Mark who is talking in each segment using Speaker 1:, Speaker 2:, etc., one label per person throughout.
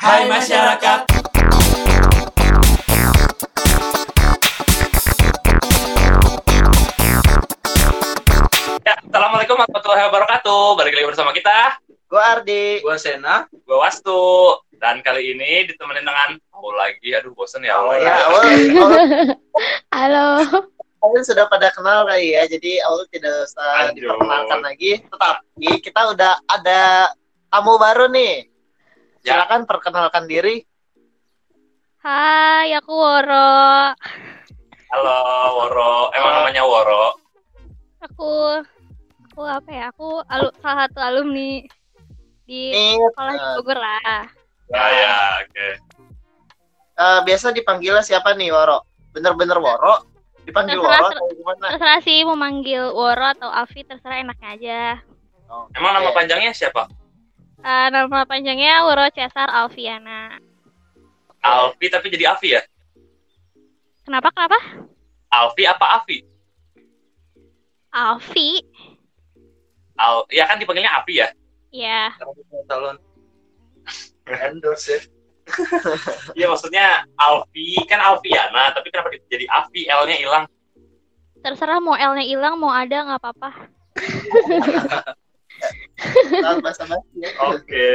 Speaker 1: Hai masyarakat. Ya, Assalamualaikum warahmatullahi wabarakatuh. Balik lagi bersama kita,
Speaker 2: Gue Ardi.
Speaker 3: Gua Sena.
Speaker 1: gue Wastu. Dan kali ini ditemenin dengan oh lagi, aduh bosen ya Allah.
Speaker 2: Ya, awal, awal
Speaker 4: Halo,
Speaker 2: kalian sudah pada kenal kali ya, jadi awal tidak usah
Speaker 1: Lanjut.
Speaker 2: diperkenalkan lagi. Tetapi kita udah ada tamu baru nih.
Speaker 1: Ya.
Speaker 2: Silakan perkenalkan diri.
Speaker 4: hai aku Woro.
Speaker 1: Halo Woro, emang namanya Woro.
Speaker 4: Aku aku apa ya? Aku alu, salah satu alumni di
Speaker 2: Nih,
Speaker 4: sekolah Bogor lah.
Speaker 1: Ya, ya, oke.
Speaker 2: eh, biasa dipanggilnya siapa nih, Woro? Bener-bener Woro? Dipanggil
Speaker 4: Terserah,
Speaker 2: Woro
Speaker 4: ter-
Speaker 2: atau gimana?
Speaker 4: Terserah sih mau manggil Woro atau Avi terserah enaknya aja.
Speaker 1: Emang nama
Speaker 2: Oke.
Speaker 1: panjangnya siapa?
Speaker 4: Eh, nama panjangnya Woro Cesar Alfiana.
Speaker 1: Alfi tapi jadi Avi ya?
Speaker 4: Kenapa kenapa?
Speaker 1: Alfi apa Avi?
Speaker 4: Alfi.
Speaker 1: Al, ya kan dipanggilnya Avi ya?
Speaker 4: Ya,
Speaker 3: Salon. Endorse ya.
Speaker 1: Iya maksudnya Alfi kan Alfiana, tapi kenapa jadi Avi L-nya hilang?
Speaker 4: terserah mau L-nya hilang mau ada nggak apa-apa.
Speaker 2: Tahu bahasa basi ya?
Speaker 1: Oke.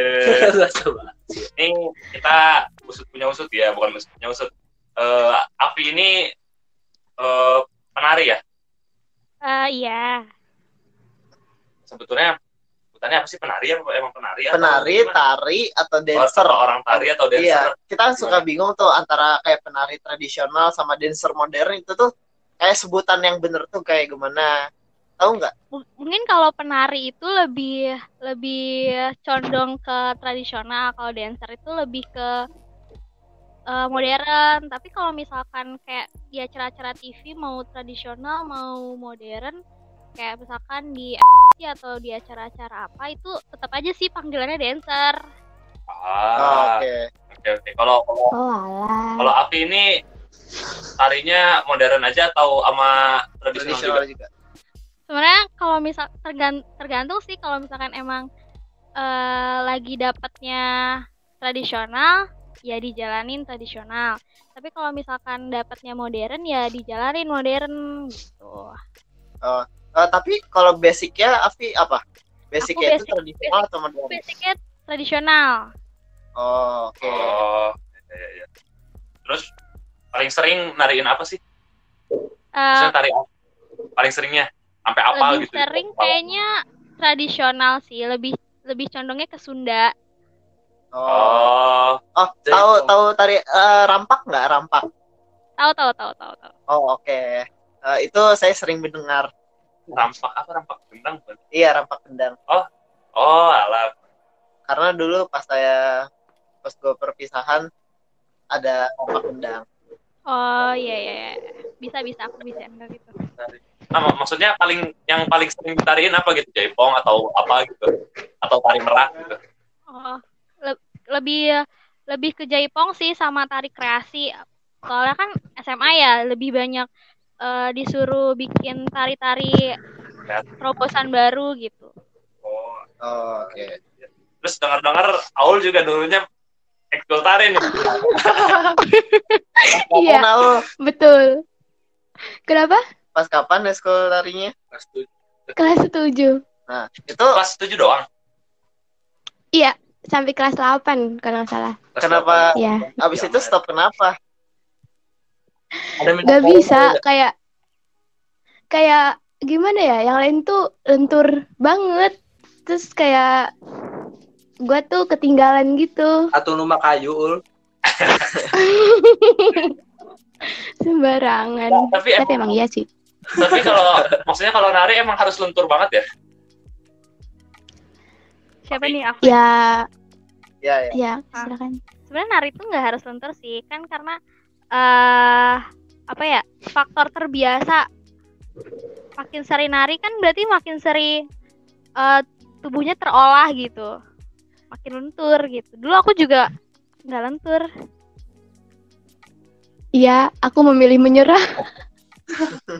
Speaker 1: ini kita usut punya usut ya, bukan usut punya usut. Eh, Avi ini eh penari ya.
Speaker 4: Eh, iya.
Speaker 1: Sebetulnya sebutannya apa sih penari ya? Emang penari? atau
Speaker 2: Penari,
Speaker 1: gimana?
Speaker 2: tari, atau dancer?
Speaker 1: Atau Oh, orang tari atau dancer?
Speaker 2: Iya, kita suka bingung tuh antara kayak penari tradisional sama dancer modern itu tuh kayak sebutan yang bener tuh kayak gimana? Tahu nggak?
Speaker 4: M- mungkin kalau penari itu lebih lebih condong ke tradisional kalau dancer itu lebih ke eh, modern tapi kalau misalkan kayak di acara-acara TV mau tradisional mau modern kayak misalkan di AFC atau di acara-acara apa itu tetap aja sih panggilannya dancer
Speaker 1: Ah,
Speaker 2: Oh, Oke.
Speaker 1: oke oke. Kalau kalau-
Speaker 5: Oh alah.
Speaker 1: kalau Avi ini tarinya modern aja atau sama tradisional juga?
Speaker 2: Tradisional juga.
Speaker 4: sebenarnya kalau misal tergan- tergantung sih kalau misalkan emang eh, lagi dapatnya tradisional ya dijalanin tradisional tapi kalau misalkan dapatnya modern ya dijalanin modern gitu
Speaker 2: Oh. Eh, tapi kalau basicnya Afi apa? Basicnya itu
Speaker 4: basic-
Speaker 2: tradisional atau modern?
Speaker 4: basicnya tradisional
Speaker 2: Oh, oke.
Speaker 1: Oh, iya, iya, iya. Terus paling sering nariin apa sih?
Speaker 4: Eh,
Speaker 1: Maksudnya tarik paling seringnya sampai apal
Speaker 4: lebih
Speaker 1: gitu.
Speaker 4: sering
Speaker 1: Apal.
Speaker 4: kayaknya tradisional sih lebih lebih condongnya ke Sunda
Speaker 1: Oh,
Speaker 2: Oh, oh tahu tahu tari eh, rampak nggak rampak?
Speaker 4: tahu tahu tahu tahu tahu
Speaker 2: Oh, oke. Eh, itu saya sering mendengar.
Speaker 1: rampak apa rampak gendang bukan?
Speaker 2: Iya, rampak kendang.
Speaker 1: Oh, alah.
Speaker 2: Karena dulu pas saya pas gue perpisahan ada rampak kendang.
Speaker 4: oh iya iya iya. bisa bisa aku bisa gitu. benar itu
Speaker 1: Nah, mak- maksudnya paling yang paling sering ditariin apa gitu? Jaipong atau apa gitu? Atau tari merak gitu.
Speaker 4: Oh, le- lebih lebih ke jaipong sih sama tari kreasi. Soalnya kan SMA ya lebih banyak eh, disuruh bikin tari-tari terobosan baru gitu.
Speaker 1: Oh.
Speaker 2: Oh, oke.
Speaker 1: Terus dengar-dengar Aul juga dulunya ekskul tari nih.
Speaker 2: Iya.
Speaker 5: Iya, betul. Kenapa?
Speaker 2: pas kapan eskul tarinya?
Speaker 3: Kelas tujuh.
Speaker 5: Kelas 7
Speaker 2: Nah, itu
Speaker 1: Kelas 7 doang.
Speaker 5: sampai kelas 8 kalau nggak salah.
Speaker 3: Kelas
Speaker 2: Kenapa?
Speaker 3: delapan.
Speaker 5: Iya.
Speaker 2: abis itu stop kenapa?
Speaker 3: Ada minta
Speaker 5: Gak
Speaker 3: tolong
Speaker 5: bisa
Speaker 3: nggak?
Speaker 5: kayak kayak gimana ya? Yang lain tuh lentur banget. Terus kayak gua tuh ketinggalan gitu
Speaker 3: Atau rumah kayu ul.
Speaker 5: sembarangan.
Speaker 1: Tapi
Speaker 5: Tapi emang iya sih.
Speaker 1: tapi kalau maksudnya kalau nari emang harus lentur banget ya?
Speaker 4: Siapa
Speaker 1: Oke.
Speaker 4: nih aku?
Speaker 5: Ya,
Speaker 2: Ya, ya.
Speaker 5: ya, silakan.
Speaker 4: Sebenarnya nari itu nggak harus lentur sih, kan karena eh apa ya faktor terbiasa. Makin sering nari kan berarti makin sering eh, tubuhnya terolah gitu, makin lentur gitu. Dulu aku juga nggak lentur.
Speaker 5: Iya, aku memilih menyerah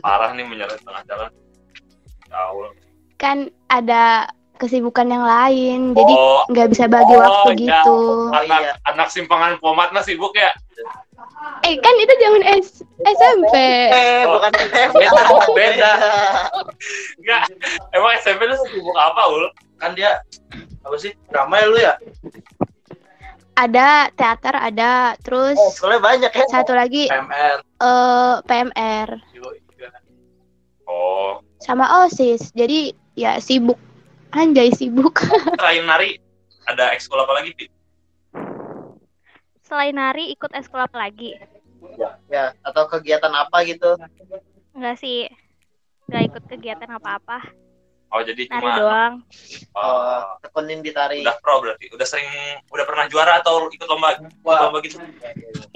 Speaker 1: Parah nih menyeret tengah jalan. Ya Aul.
Speaker 5: kan ada kesibukan yang lain jadi
Speaker 1: oh,
Speaker 5: nggak bisa bagi
Speaker 1: Oh,
Speaker 5: waktu
Speaker 1: iya.
Speaker 5: gitu
Speaker 2: Oh,
Speaker 1: anak anak simpangan pomat mah sibuk ya.
Speaker 5: eh kan itu zaman S- SMP
Speaker 2: Eh,
Speaker 1: Oh.
Speaker 2: bukan SMP.
Speaker 3: Beda, beda.
Speaker 1: Enggak. Emang SMP lu sibuk apa, Ul?
Speaker 3: kan dia apa sih ramai lu ya
Speaker 5: ada teater ada terus
Speaker 2: Oh, sekolah banyak ya.
Speaker 5: satu lagi
Speaker 3: MR
Speaker 5: eh, PMR
Speaker 3: Yoi. iya.
Speaker 1: Oh,
Speaker 5: sama osis jadi ya sibuk anjay sibuk
Speaker 1: selain nari ada ekskul apa lagi, Pit?
Speaker 4: Selain nari ikut eskul apa lagi?
Speaker 2: Ya, atau kegiatan apa gitu.
Speaker 4: Enggak sih. Enggak ikut kegiatan apa-apa.
Speaker 1: Oh, jadi
Speaker 4: Nari
Speaker 1: cuma
Speaker 4: doang.
Speaker 5: Iya.
Speaker 1: Oh,
Speaker 2: Tekunin di tari.
Speaker 1: udah pro berarti. Udah sering udah pernah juara atau ikut lomba
Speaker 3: wah
Speaker 1: lomba gitu.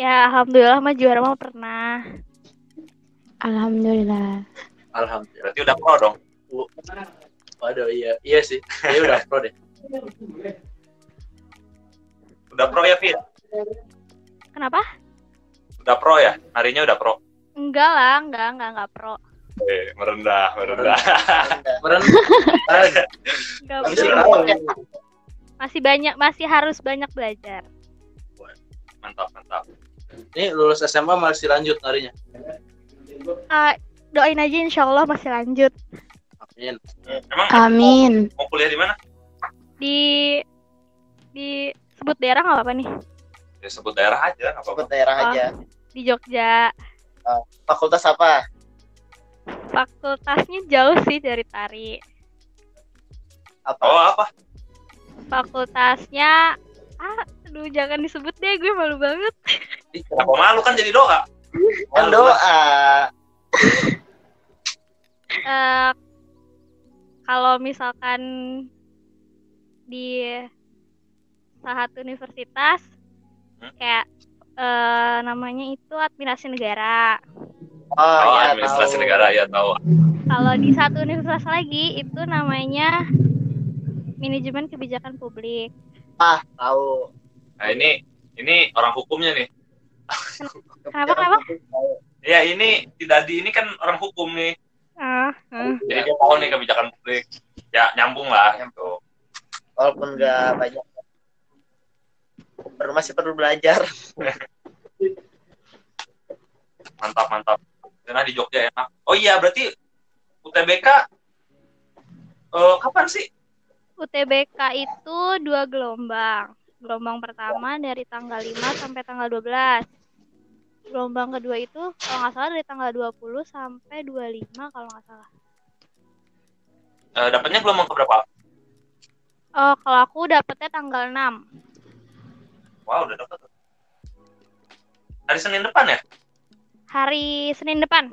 Speaker 4: Ya alhamdulillah mah juara mah pernah.
Speaker 5: alhamdulillah
Speaker 3: alhamdulillah
Speaker 1: Berarti udah pro dong.
Speaker 3: waduh iya iya sih dia udah pro deh
Speaker 1: Udah pro ya, Pit?
Speaker 4: Kenapa?
Speaker 1: Udah pro ya? Narinya udah pro.
Speaker 4: Enggak lah, enggak, enggak, enggak pro.
Speaker 1: Eh, merendah, merendah.
Speaker 2: Udah.
Speaker 3: kemarin
Speaker 4: Enggak
Speaker 2: Habis
Speaker 4: pro.
Speaker 2: ini mau ya.
Speaker 4: Masih banyak masih harus banyak belajar.
Speaker 1: mantap, mantap.
Speaker 3: ini lulus SMA masih lanjut narinya
Speaker 4: Eh, doain aja insya Allah masih lanjut
Speaker 3: amin
Speaker 1: Emang
Speaker 5: amin
Speaker 1: mau kuliah di mana?
Speaker 4: di di sebut daerah nggak apa-apa nih
Speaker 1: Ya sebut daerah aja, nggak apa-apa.
Speaker 2: Ikut daerah
Speaker 5: Ah.
Speaker 2: aja.
Speaker 4: di Jogja
Speaker 2: Fakultas apa?
Speaker 4: fakultasnya jauh sih dari tari
Speaker 2: Apa?
Speaker 1: Oh, apa?
Speaker 4: fakultasnya ah aduh jangan disebut deh gue malu banget
Speaker 1: Apa malu kan jadi doa?
Speaker 2: Kan doa.
Speaker 4: Eh kalau misalkan di salah satu universitas
Speaker 1: Hmm?
Speaker 4: kayak eh namanya itu administrasi negara
Speaker 2: Oh,
Speaker 1: Oh,
Speaker 2: ya,
Speaker 1: administrasi
Speaker 2: tahu.
Speaker 1: negara ya tahu.
Speaker 4: kalau di satu universitas lagi itu namanya manajemen kebijakan publik
Speaker 2: Ah, tahu.
Speaker 1: Nah, ini ini orang hukumnya nih.
Speaker 4: Kenapa, kenapa?
Speaker 1: Ya, ini tidak di ini kan orang hukum nih.
Speaker 4: Ah, ah.
Speaker 2: Iya.
Speaker 1: Jadi dia tahu nih kebijakan publik. Ya, nyambung lah gitu.
Speaker 2: Walaupun nggak banyak. Baru masih perlu belajar.
Speaker 1: Mantap, mantap. Karena di Jogja enak. Oh iya, berarti UTBK eh, kapan sih?
Speaker 4: UTBK itu dua gelombang. Gelombang pertama dari tanggal 5 sampai tanggal 12. Gelombang kedua itu kalau nggak salah dari tanggal 20 sampai 25 kalau nggak salah.
Speaker 1: Eh, dapatnya gelombang keberapa?
Speaker 4: Oh, kalau aku dapetnya tanggal 6.
Speaker 1: Wah, udah dapat. Hari Senin depan ya?
Speaker 4: Hari Senin depan.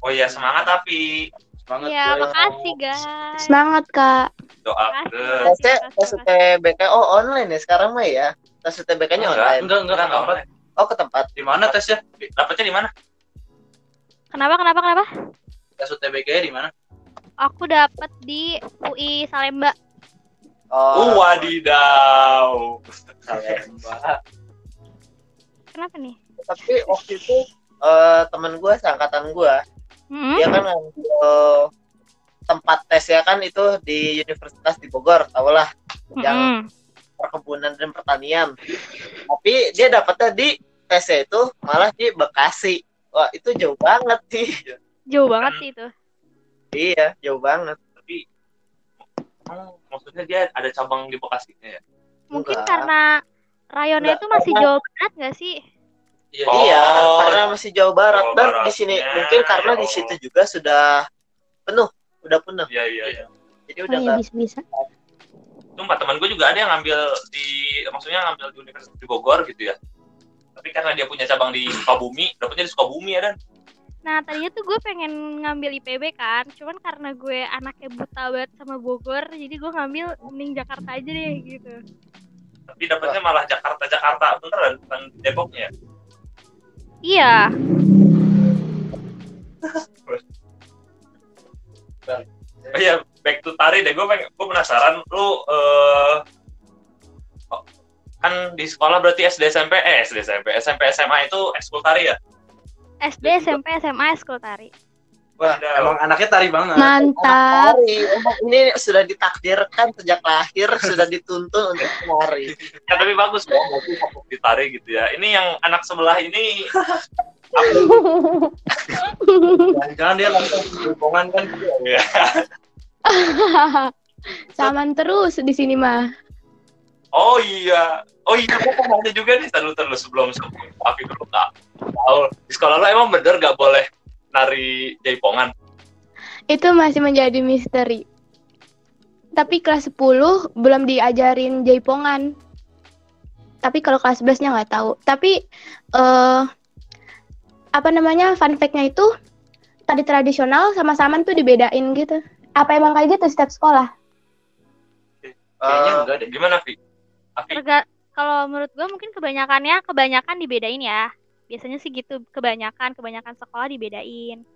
Speaker 1: Oh iya, semangat tapi
Speaker 3: semangat
Speaker 4: Ya,
Speaker 3: Joy.
Speaker 4: makasih guys.
Speaker 5: semangat kak
Speaker 1: doa
Speaker 4: Makasih.
Speaker 1: ke
Speaker 2: Tes ya, tes UTBK oh online ya sekarang mah ya. Tes UTBK-nya
Speaker 1: Enggak.
Speaker 2: online.
Speaker 3: enggak enggak
Speaker 1: Enggak, enggak
Speaker 3: kapan
Speaker 1: online.
Speaker 2: Oh, ke tempat.
Speaker 3: di mana ya? tesnya
Speaker 1: Dapatnya kan, di mana?
Speaker 4: Kenapa kenapa kenapa?
Speaker 3: tes UTBK -nya di mana
Speaker 4: Aku dapet di UI Salemba.
Speaker 1: Oh,
Speaker 2: Oh,
Speaker 1: wadidaw.
Speaker 4: Kenapa nih?
Speaker 2: tapi waktu itu eh, teman gue seangkatan gue
Speaker 4: Hmm?
Speaker 2: dia kan ngambil tempat tes ya kan itu di Universitas di Bogor tau lah
Speaker 4: Hmm,
Speaker 2: yang-
Speaker 4: Mm-mm.
Speaker 2: perkebunan dan pertanian tapi dia dapetnya di tesnya itu malah di Bekasi wah itu jauh banget sih
Speaker 4: Jauh banget sih itu.
Speaker 2: iya jauh banget
Speaker 1: Tapi oh, maksudnya dia ada cabang di Bekasi ya?
Speaker 4: Mungkin
Speaker 2: Enggak.
Speaker 4: karena
Speaker 2: Enggak,
Speaker 4: rayonnya itu masih
Speaker 2: karena-
Speaker 4: jauh banget nggak sih?
Speaker 3: iya
Speaker 1: Oh.
Speaker 2: iya karena masih jauh barat
Speaker 1: Jawa
Speaker 2: dan
Speaker 1: Barat.
Speaker 2: di sini
Speaker 1: Ya,
Speaker 2: mungkin karena
Speaker 1: ya
Speaker 2: di
Speaker 1: Allah.
Speaker 2: situ juga sudah penuh udah penuh
Speaker 1: Iya, iya, iya.
Speaker 2: jadi
Speaker 5: oh
Speaker 2: udah
Speaker 5: ya
Speaker 2: nggak
Speaker 5: bisa bisa
Speaker 1: Sumpah, teman gue juga ada yang ngambil di, maksudnya ngambil di Universitas di Bogor gitu ya. Tapi karena dia punya cabang di Sukabumi, dapetnya di Sukabumi ya, Dan?
Speaker 4: Nah tadinya tuh gue pengen ngambil IPB kan Cuman karena gue anaknya buta banget sama Bogor Jadi gue ngambil mending Jakarta aja deh gitu
Speaker 1: Tapi dapetnya malah Jakarta-Jakarta, beneran, bukan Depoknya.
Speaker 4: Iya
Speaker 1: Oh iya, back to tari deh. Gue pengen, gue penasaran. Lu eh oh, kan di sekolah berarti SD SMP, eh SD SMP, SMP SMA itu ekskul tari ya?
Speaker 4: SD, SMP, SMA, eskul tari
Speaker 3: Wah,
Speaker 1: Wadaw.
Speaker 3: emang anaknya tari banget.
Speaker 4: Nah.
Speaker 5: Mantap.
Speaker 2: Penari. Emang Oh, ini sudah ditakdirkan sejak lahir sudah dituntun untuk penari.
Speaker 1: Ya, tapi bagus kok, bagus fokus di tari gitu ya. Ini yang anak sebelah ini
Speaker 3: Jangan-jangan dia langsung hubungan kan.
Speaker 5: Saman terus di sini mah.
Speaker 1: Oh iya, oh iya, gue mau nanya juga nih, tadi dulu sebelum sebelum Afi dulu kak. Tahu di sekolah lo emang bener gak boleh nari jaipongan?
Speaker 5: Itu masih menjadi misteri. Tapi kelas 10 belum diajarin jaipongan. Tapi kalau kelas 11-nya nggak tahu. Tapi eh apa namanya? Fun fact-nya itu tadi tradisional sama saman tuh dibedain gitu. Apa emang kayak gitu setiap sekolah?
Speaker 3: Kayaknya
Speaker 2: Eh,
Speaker 3: enggak deh.
Speaker 1: Gimana Fi? Afi,
Speaker 4: Terga- kalau menurut gue mungkin kebanyakannya kebanyakan dibedain ya. Biasanya sih gitu, kebanyakan kebanyakan sekolah dibedain.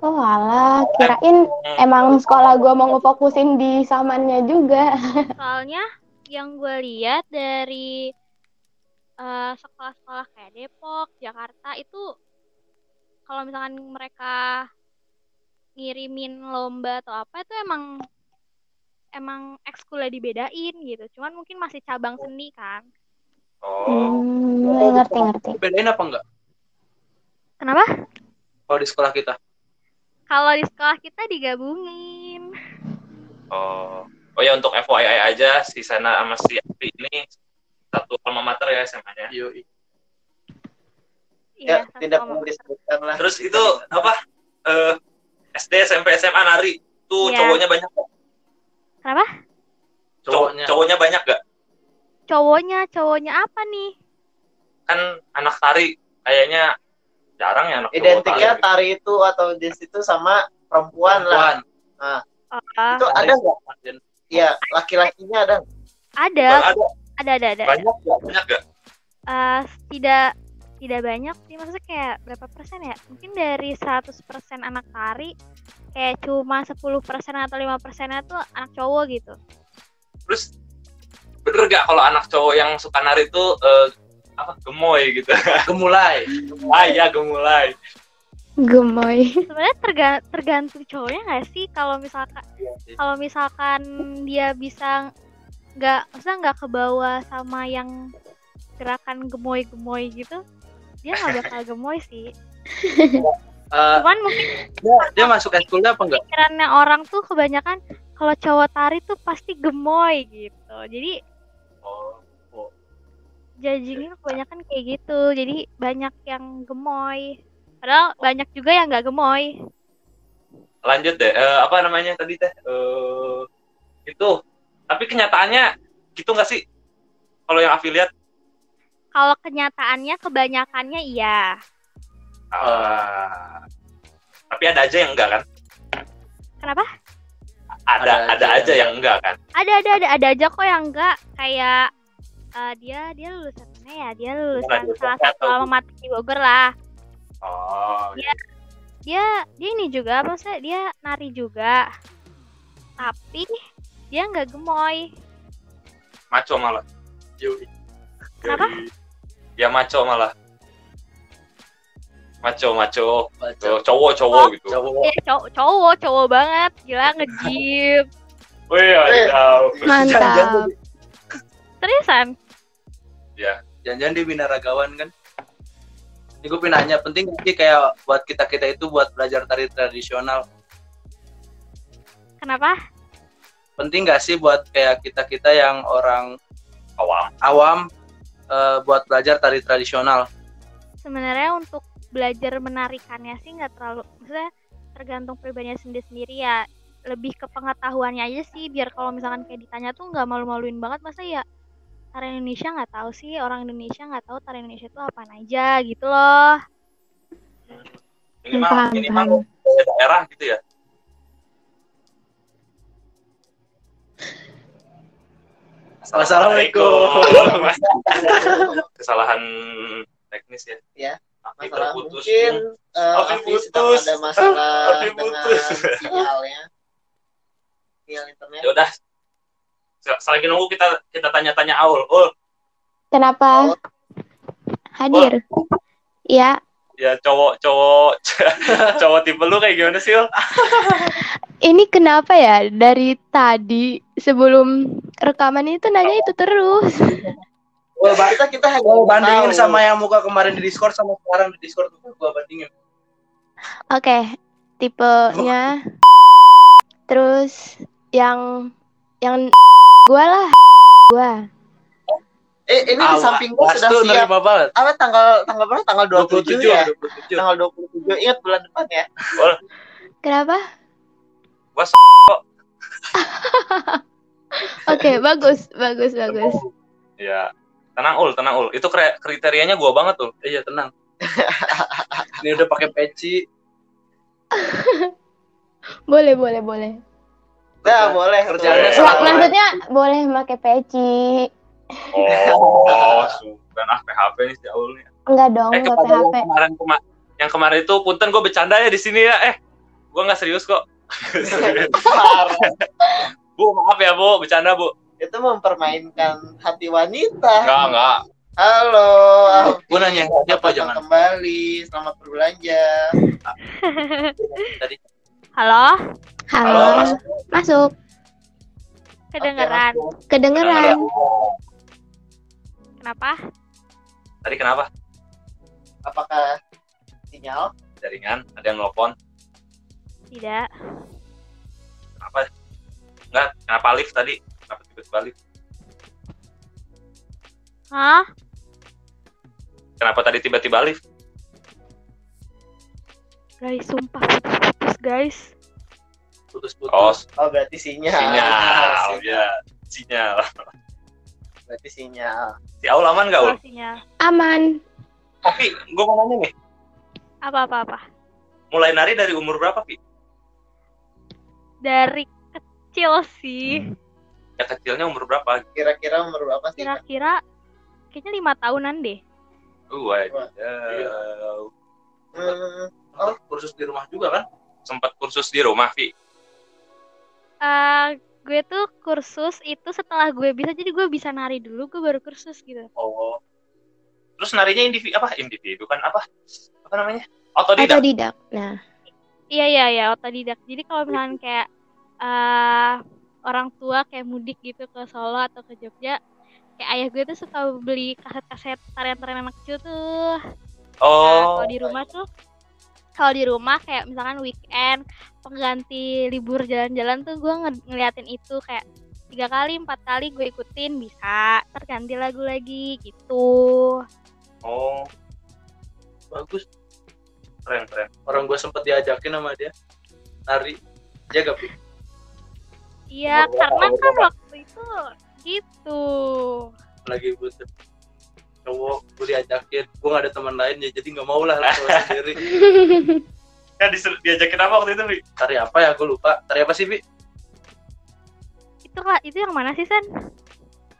Speaker 5: Oh alah, kirain emang sekolah gua mau ngefokusin di samannya juga.
Speaker 4: Soalnya yang gue lihat dari eh, sekolah-sekolah kayak Depok, Jakarta itu kalau misalkan mereka ngirimin lomba atau apa itu emang emang ekskulnya dibedain gitu. Cuman mungkin masih cabang seni kan.
Speaker 1: oh,
Speaker 5: Hmm, ngerti ngerti.
Speaker 3: Bedain apa enggak?
Speaker 4: Kenapa?
Speaker 3: Kalau di sekolah kita.
Speaker 4: Kalau di sekolah kita digabungin.
Speaker 1: oh, oh ya untuk FYI aja si Sena sama si Afi ini satu alma mater ya SMA-nya.
Speaker 3: Yoi.
Speaker 2: ya,
Speaker 4: satu
Speaker 2: tidak
Speaker 4: koma-
Speaker 2: perlu disebutkan lah.
Speaker 1: Terus itu apa? Eh, SD, SMP, SMA nari tuh
Speaker 4: Iya.
Speaker 1: cowoknya banyak gak?
Speaker 4: Kenapa?
Speaker 1: Cowoknya.
Speaker 3: Cowoknya.
Speaker 1: cowoknya banyak gak?
Speaker 4: cowoknya cowoknya apa nih
Speaker 1: Kan anak tari kayaknya jarang ya anak cowok
Speaker 2: Identiknya
Speaker 1: tari.
Speaker 2: tari itu atau di situ sama perempuan lah.
Speaker 3: Perempuan.
Speaker 4: Ah,
Speaker 2: Itu ada nggak?
Speaker 3: Dan
Speaker 2: Iya, laki-lakinya ada. nggak?
Speaker 4: ada
Speaker 1: Ada
Speaker 4: ada ada ada
Speaker 1: banyak gak? Banyak gak?
Speaker 4: Eh, tidak tidak banyak sih maksudnya kayak berapa persen ya mungkin dari 100% anak tari kayak cuma 10% atau 5% persennya tuh anak cowok gitu
Speaker 1: Terus bener gak kalau anak cowok yang suka nari itu eh, apa gemoy gitu?
Speaker 3: Gemulai.
Speaker 1: ah iya gemulai.
Speaker 5: Gemoy.
Speaker 4: sebenarnya terga- tergantung cowoknya nggak sih kalau misalkan kalau misalkan dia bisa nggak maksudnya nggak kebawa sama yang gerakan gemoy-gemoy gitu dia nggak bakal gemoy sih
Speaker 3: Eh,
Speaker 4: cuman mungkin
Speaker 3: dia masuk eskulnya apa enggak?
Speaker 4: pikirannya orang tuh kebanyakan kalau cowok tari tuh pasti gemoy gitu. Jadi
Speaker 1: Oh, oh.
Speaker 4: judgingnya kebanyakan kayak gitu. Jadi banyak yang gemoy. Padahal banyak juga yang nggak gemoy.
Speaker 1: Lanjut deh. Eh, apa namanya tadi teh? Eh, itu. Tapi kenyataannya gitu gak sih? Kalau yang Afi lihat
Speaker 4: Kalau kenyataannya kebanyakannya iya.
Speaker 1: Ah. tapi ada aja yang enggak kan?
Speaker 4: Kenapa?
Speaker 1: Ada ada,
Speaker 3: Ada
Speaker 1: aja,
Speaker 3: aja
Speaker 1: yang enggak kan?
Speaker 4: Ada ada ada ada aja kok yang nggak kayak eh, dia dia lulusan mana ya? Dia lulusan
Speaker 1: Bukan,
Speaker 4: salah
Speaker 1: bukan.
Speaker 4: satu alma mater di Bogor lah.
Speaker 1: Oh.
Speaker 4: Iya. dia dia ini juga maksudnya dia nari juga tapi dia nggak gemoy
Speaker 1: Maco malah.
Speaker 3: Yoi.
Speaker 4: Kenapa?
Speaker 1: Ya maco malah. Maco maco.
Speaker 3: Baca.
Speaker 1: Cowok cowok gitu.
Speaker 3: Cowok.
Speaker 4: dia Eh, cow- cowok cowok banget gila ngejip
Speaker 1: Wih, wadaw.
Speaker 5: Mantap.
Speaker 4: seriusan
Speaker 3: Jangan-jangan dia binaragawan kan? Ini gue pengen nanya, penting gak sih kayak buat kita-kita itu buat belajar tari tradisional?
Speaker 4: kenapa
Speaker 3: Penting gak sih buat kayak kita-kita yang orang
Speaker 1: Awam.
Speaker 3: awam eh, buat belajar tari tradisional?
Speaker 4: sebenarnya untuk belajar menarikannya sih nggak terlalu maksudnya tergantung pribadinya sendiri sendiri ya lebih ke pengetahuannya aja sih biar kalau misalkan kayak ditanya tuh nggak malu-maluin banget masa ya tari Indonesia nggak tahu sih orang Indonesia nggak tahu tari Indonesia itu apaan aja gitu loh
Speaker 1: Minimal
Speaker 5: Paham,
Speaker 1: minimal
Speaker 5: paham.
Speaker 1: kayak daerah gitu ya.
Speaker 3: Assalamualaikum.
Speaker 1: Kesalahan teknis ya.
Speaker 2: Iya.
Speaker 1: Afi
Speaker 2: Masalah
Speaker 1: terputus.
Speaker 2: mungkin eh,
Speaker 1: Afi
Speaker 2: Afi sedang
Speaker 1: putus.
Speaker 2: ada masalah
Speaker 1: Afi
Speaker 2: dengan
Speaker 1: putus.
Speaker 2: sinyalnya. Sinyal internet.
Speaker 1: Ya udah. Selagi nunggu kita kita tanya-tanya Aul. Aul,
Speaker 5: Kenapa hadir? Ya,
Speaker 1: ya cowok cowok cowok tipe lu kayak gimana sih Ul?
Speaker 5: Ini kenapa ya dari tadi sebelum rekaman itu nanya itu terus.
Speaker 3: Gua ba-
Speaker 2: kita kita hanya
Speaker 3: gua
Speaker 2: mau
Speaker 3: bandingin
Speaker 2: tahu.
Speaker 3: sama yang muka kemarin di Discord sama sekarang di Discord tuh gua bandingin.
Speaker 5: Oke, tipenya. Terus yang yang gua lah, gua.
Speaker 2: eh ini di samping gua
Speaker 3: Awas
Speaker 2: sudah
Speaker 3: tuh,
Speaker 2: siap
Speaker 3: nerima banget.
Speaker 2: apa tanggal tanggal berapa tanggal
Speaker 3: 27
Speaker 2: 27, ya
Speaker 3: 27.
Speaker 2: tanggal 27 ingat bulan depan ya
Speaker 5: Kenapa?
Speaker 1: Gua s-
Speaker 5: Oke, bagus, bagus, bagus.
Speaker 1: ya tenang ul tenang ul itu kre- kriterianya gua banget tuh
Speaker 3: Iya, tenang. Ini udah pakai peci.
Speaker 5: Boleh, boleh, boleh.
Speaker 3: Iya.
Speaker 2: Nah, boleh
Speaker 3: Kerjaannya
Speaker 2: boleh.
Speaker 1: Wah,
Speaker 5: Mak-
Speaker 3: iya,
Speaker 5: maksudnya boleh pakai peci.
Speaker 1: oh sudah ah PHP nih si Aul nih
Speaker 5: Enggak dong,
Speaker 1: eh
Speaker 5: enggak
Speaker 1: kepada yang
Speaker 5: PHP.
Speaker 1: kemarin kema- yang kemarin itu punten gua bercanda ya di sini ya eh gua nggak serius kok
Speaker 3: iya.
Speaker 2: Parah.
Speaker 1: bu maaf ya bu bercanda bu
Speaker 2: itu mempermainkan hati wanita
Speaker 3: Iya.
Speaker 1: enggak enggak
Speaker 2: halo
Speaker 3: Gua nanya siapa
Speaker 2: Datang
Speaker 3: Iya, jangan.
Speaker 2: kembali selamat berbelanja
Speaker 4: Halo,
Speaker 5: Halo.
Speaker 1: Halo,
Speaker 5: masuk. masuk.
Speaker 4: kedengeran.
Speaker 5: Kedengeran.
Speaker 4: Kenapa?
Speaker 1: tadi kenapa
Speaker 2: apakah sinyal
Speaker 1: jaringan ada yang nelfon
Speaker 4: Tidak.
Speaker 1: kenapa enggak kenapa lift tadi kenapa tiba-tiba lift
Speaker 4: Hah?
Speaker 1: kenapa tadi tiba-tiba lift
Speaker 4: Guys, sumpah putus-putus, guys.
Speaker 3: Putus-putus.
Speaker 1: oh
Speaker 2: oh berarti sinyal
Speaker 1: sinyal
Speaker 3: iya.
Speaker 1: ya sinyal
Speaker 2: berarti sinyal
Speaker 1: si Aul aman nggak Aul
Speaker 4: Pastinya.
Speaker 5: Aman.
Speaker 1: tapi Eh, gua mau nanya nih
Speaker 4: Apa-apa-apa.
Speaker 1: mulai nari dari umur berapa Pi?
Speaker 4: Dari kecil sih,
Speaker 1: ya kecilnya umur berapa
Speaker 2: kira-kira umur berapa sih
Speaker 4: kira-kira kayaknya lima tahunan deh.
Speaker 1: Gue aja.
Speaker 3: Iya.
Speaker 2: Hmm,
Speaker 3: Oh, kursus di rumah juga kan?
Speaker 1: Sempat kursus di rumah, Fi.
Speaker 4: Eh, gue tuh kursus itu setelah gue bisa jadi gue bisa nari dulu gue baru kursus gitu
Speaker 1: Oh. Terus narinya individu apa? Individu kan apa? Apa namanya?
Speaker 5: Atau
Speaker 1: Otodidak.
Speaker 5: tidak. Nah,
Speaker 4: iya iya iya otodidak jadi kalau misalnya kayak eh orang tua kayak mudik gitu ke Solo atau ke Jogja kayak ayah gue tuh suka beli kaset-kaset tarian-tarian anak kecil tuh Nah,
Speaker 1: Oh.
Speaker 4: kalau di rumah tuh kalau di rumah kayak misalkan weekend pengganti libur jalan-jalan tuh gue nge- ngeliatin itu kayak tiga kali empat kali gue ikutin bisa terganti lagu lagi gitu
Speaker 1: Oh,
Speaker 3: Bagus.
Speaker 1: keren keren.
Speaker 3: Orang gua sempet diajakin sama dia. Nari. Dia gak
Speaker 4: Iya,
Speaker 1: Beberapa,
Speaker 4: karena kan
Speaker 1: beberapa.
Speaker 4: waktu itu gitu.
Speaker 3: lagi butuh cowok gue diajakin gue gak ada teman lain ya jadi nggak mau lah lah gua sendiri
Speaker 1: Ya disuruh diajakin apa waktu itu, Fi?
Speaker 3: tari apa ya gue lupa tari apa sih bi
Speaker 4: Itu ka- itu yang mana sih, San?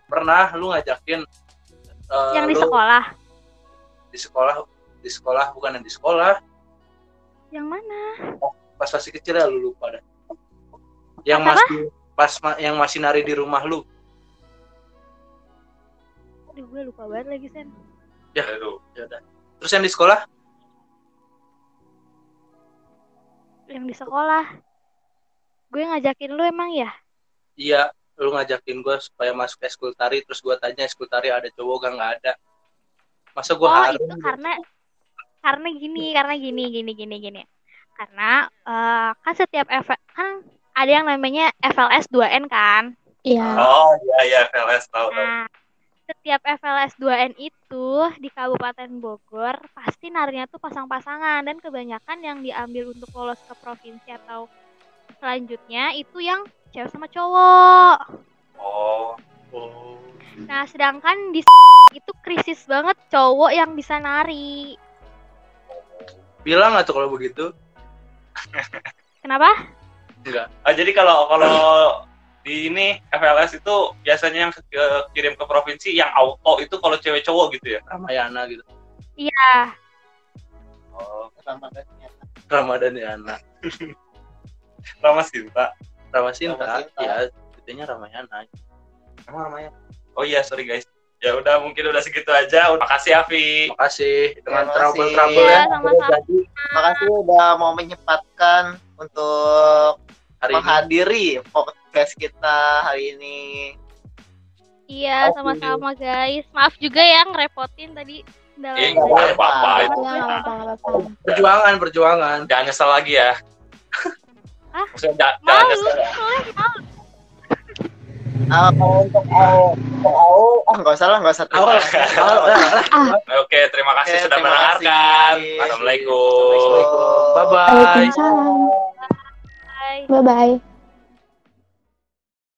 Speaker 3: pernah lu ngajakin eh,
Speaker 4: yang di
Speaker 3: lu
Speaker 4: sekolah.
Speaker 3: di sekolah di sekolah bukan yang di sekolah
Speaker 4: Yang mana?
Speaker 3: pas masih kecil ya lu lupa dah yang
Speaker 4: Apa?
Speaker 3: masih pas ma- yang masih nari di rumah lu
Speaker 4: Aduh, gue lupa banget lagi, San.
Speaker 1: Ya, aduh.
Speaker 3: ya udah terus yang di sekolah
Speaker 4: Yang di sekolah. Gue ngajakin lu emang ya?
Speaker 3: iya lu ngajakin gue supaya masuk eskul tari terus gue tanya eskul tari ada cowok gak nggak ada masa gue
Speaker 4: oh,
Speaker 3: harus
Speaker 4: itu karena karena gini, karena gini, gini, gini, gini. Karena eh, kan setiap F- kan ada yang namanya FLS 2N kan.
Speaker 5: iya.
Speaker 1: Oh, iya iya, VLS tahu tahu.
Speaker 4: Nah, setiap FLS 2N itu di Kabupaten Bogor pasti narinya tuh pasang-pasangan dan kebanyakan yang diambil untuk lolos ke provinsi atau selanjutnya itu yang cewek sama cowok.
Speaker 1: Oh.
Speaker 3: Oh.
Speaker 4: Nah, sedangkan di itu krisis banget cowok yang bisa nari.
Speaker 3: bilang atau kalau begitu
Speaker 4: Kenapa?
Speaker 1: Ah, jadi kalau kalau di ini FLS itu biasanya yang ke- kirim ke provinsi yang auto itu kalau cewek cowok gitu ya.
Speaker 3: Ramayana gitu
Speaker 4: Iya,
Speaker 1: Oh,
Speaker 2: Ramadhan ternyata.
Speaker 3: Ramadan Yana
Speaker 1: Rama Sinta.
Speaker 3: Ramasinta
Speaker 2: Ramasinta.
Speaker 3: ya itunya iya, Ramayana
Speaker 1: Emang namanya? Oh iya, sorry guys. Ya udah mungkin udah segitu aja. Makasih Avi.
Speaker 3: Makasih dengan
Speaker 2: Terima kasih.
Speaker 3: trouble-trouble
Speaker 4: Iya,
Speaker 3: ya.
Speaker 4: sama-sama.
Speaker 3: Jadi
Speaker 2: Makasih udah mau menyempatkan untuk
Speaker 3: hari ini
Speaker 2: menghadiri podcast kita hari ini.
Speaker 4: Iya, sama-sama guys. Maaf juga ya ngerepotin tadi. Dalam
Speaker 1: Eh, nggak boleh apa-apa.
Speaker 5: Nggak
Speaker 1: Itu.
Speaker 5: apa-apa, nggak apa-apa.
Speaker 3: perjuangan, perjuangan.
Speaker 1: Jangan nyesel lagi ya.
Speaker 4: Hah?
Speaker 1: Maksudnya jangan, jangan
Speaker 4: Mau lu,
Speaker 1: nyesel. ya.
Speaker 4: boleh mau.
Speaker 2: Ah, kalau untuk Ao, untuk Ao, ah nggak usah lah, nggak usah.
Speaker 3: Awal, awal, awal.
Speaker 1: Oke, terima kasih
Speaker 2: Oke,
Speaker 1: sudah
Speaker 2: terima
Speaker 1: mendengarkan.
Speaker 2: kasih.
Speaker 1: Assalamualaikum.
Speaker 2: Assalamualaikum.
Speaker 3: Bye bye.
Speaker 5: Waalaikumsalam.
Speaker 4: Bye.
Speaker 5: Bye-bye.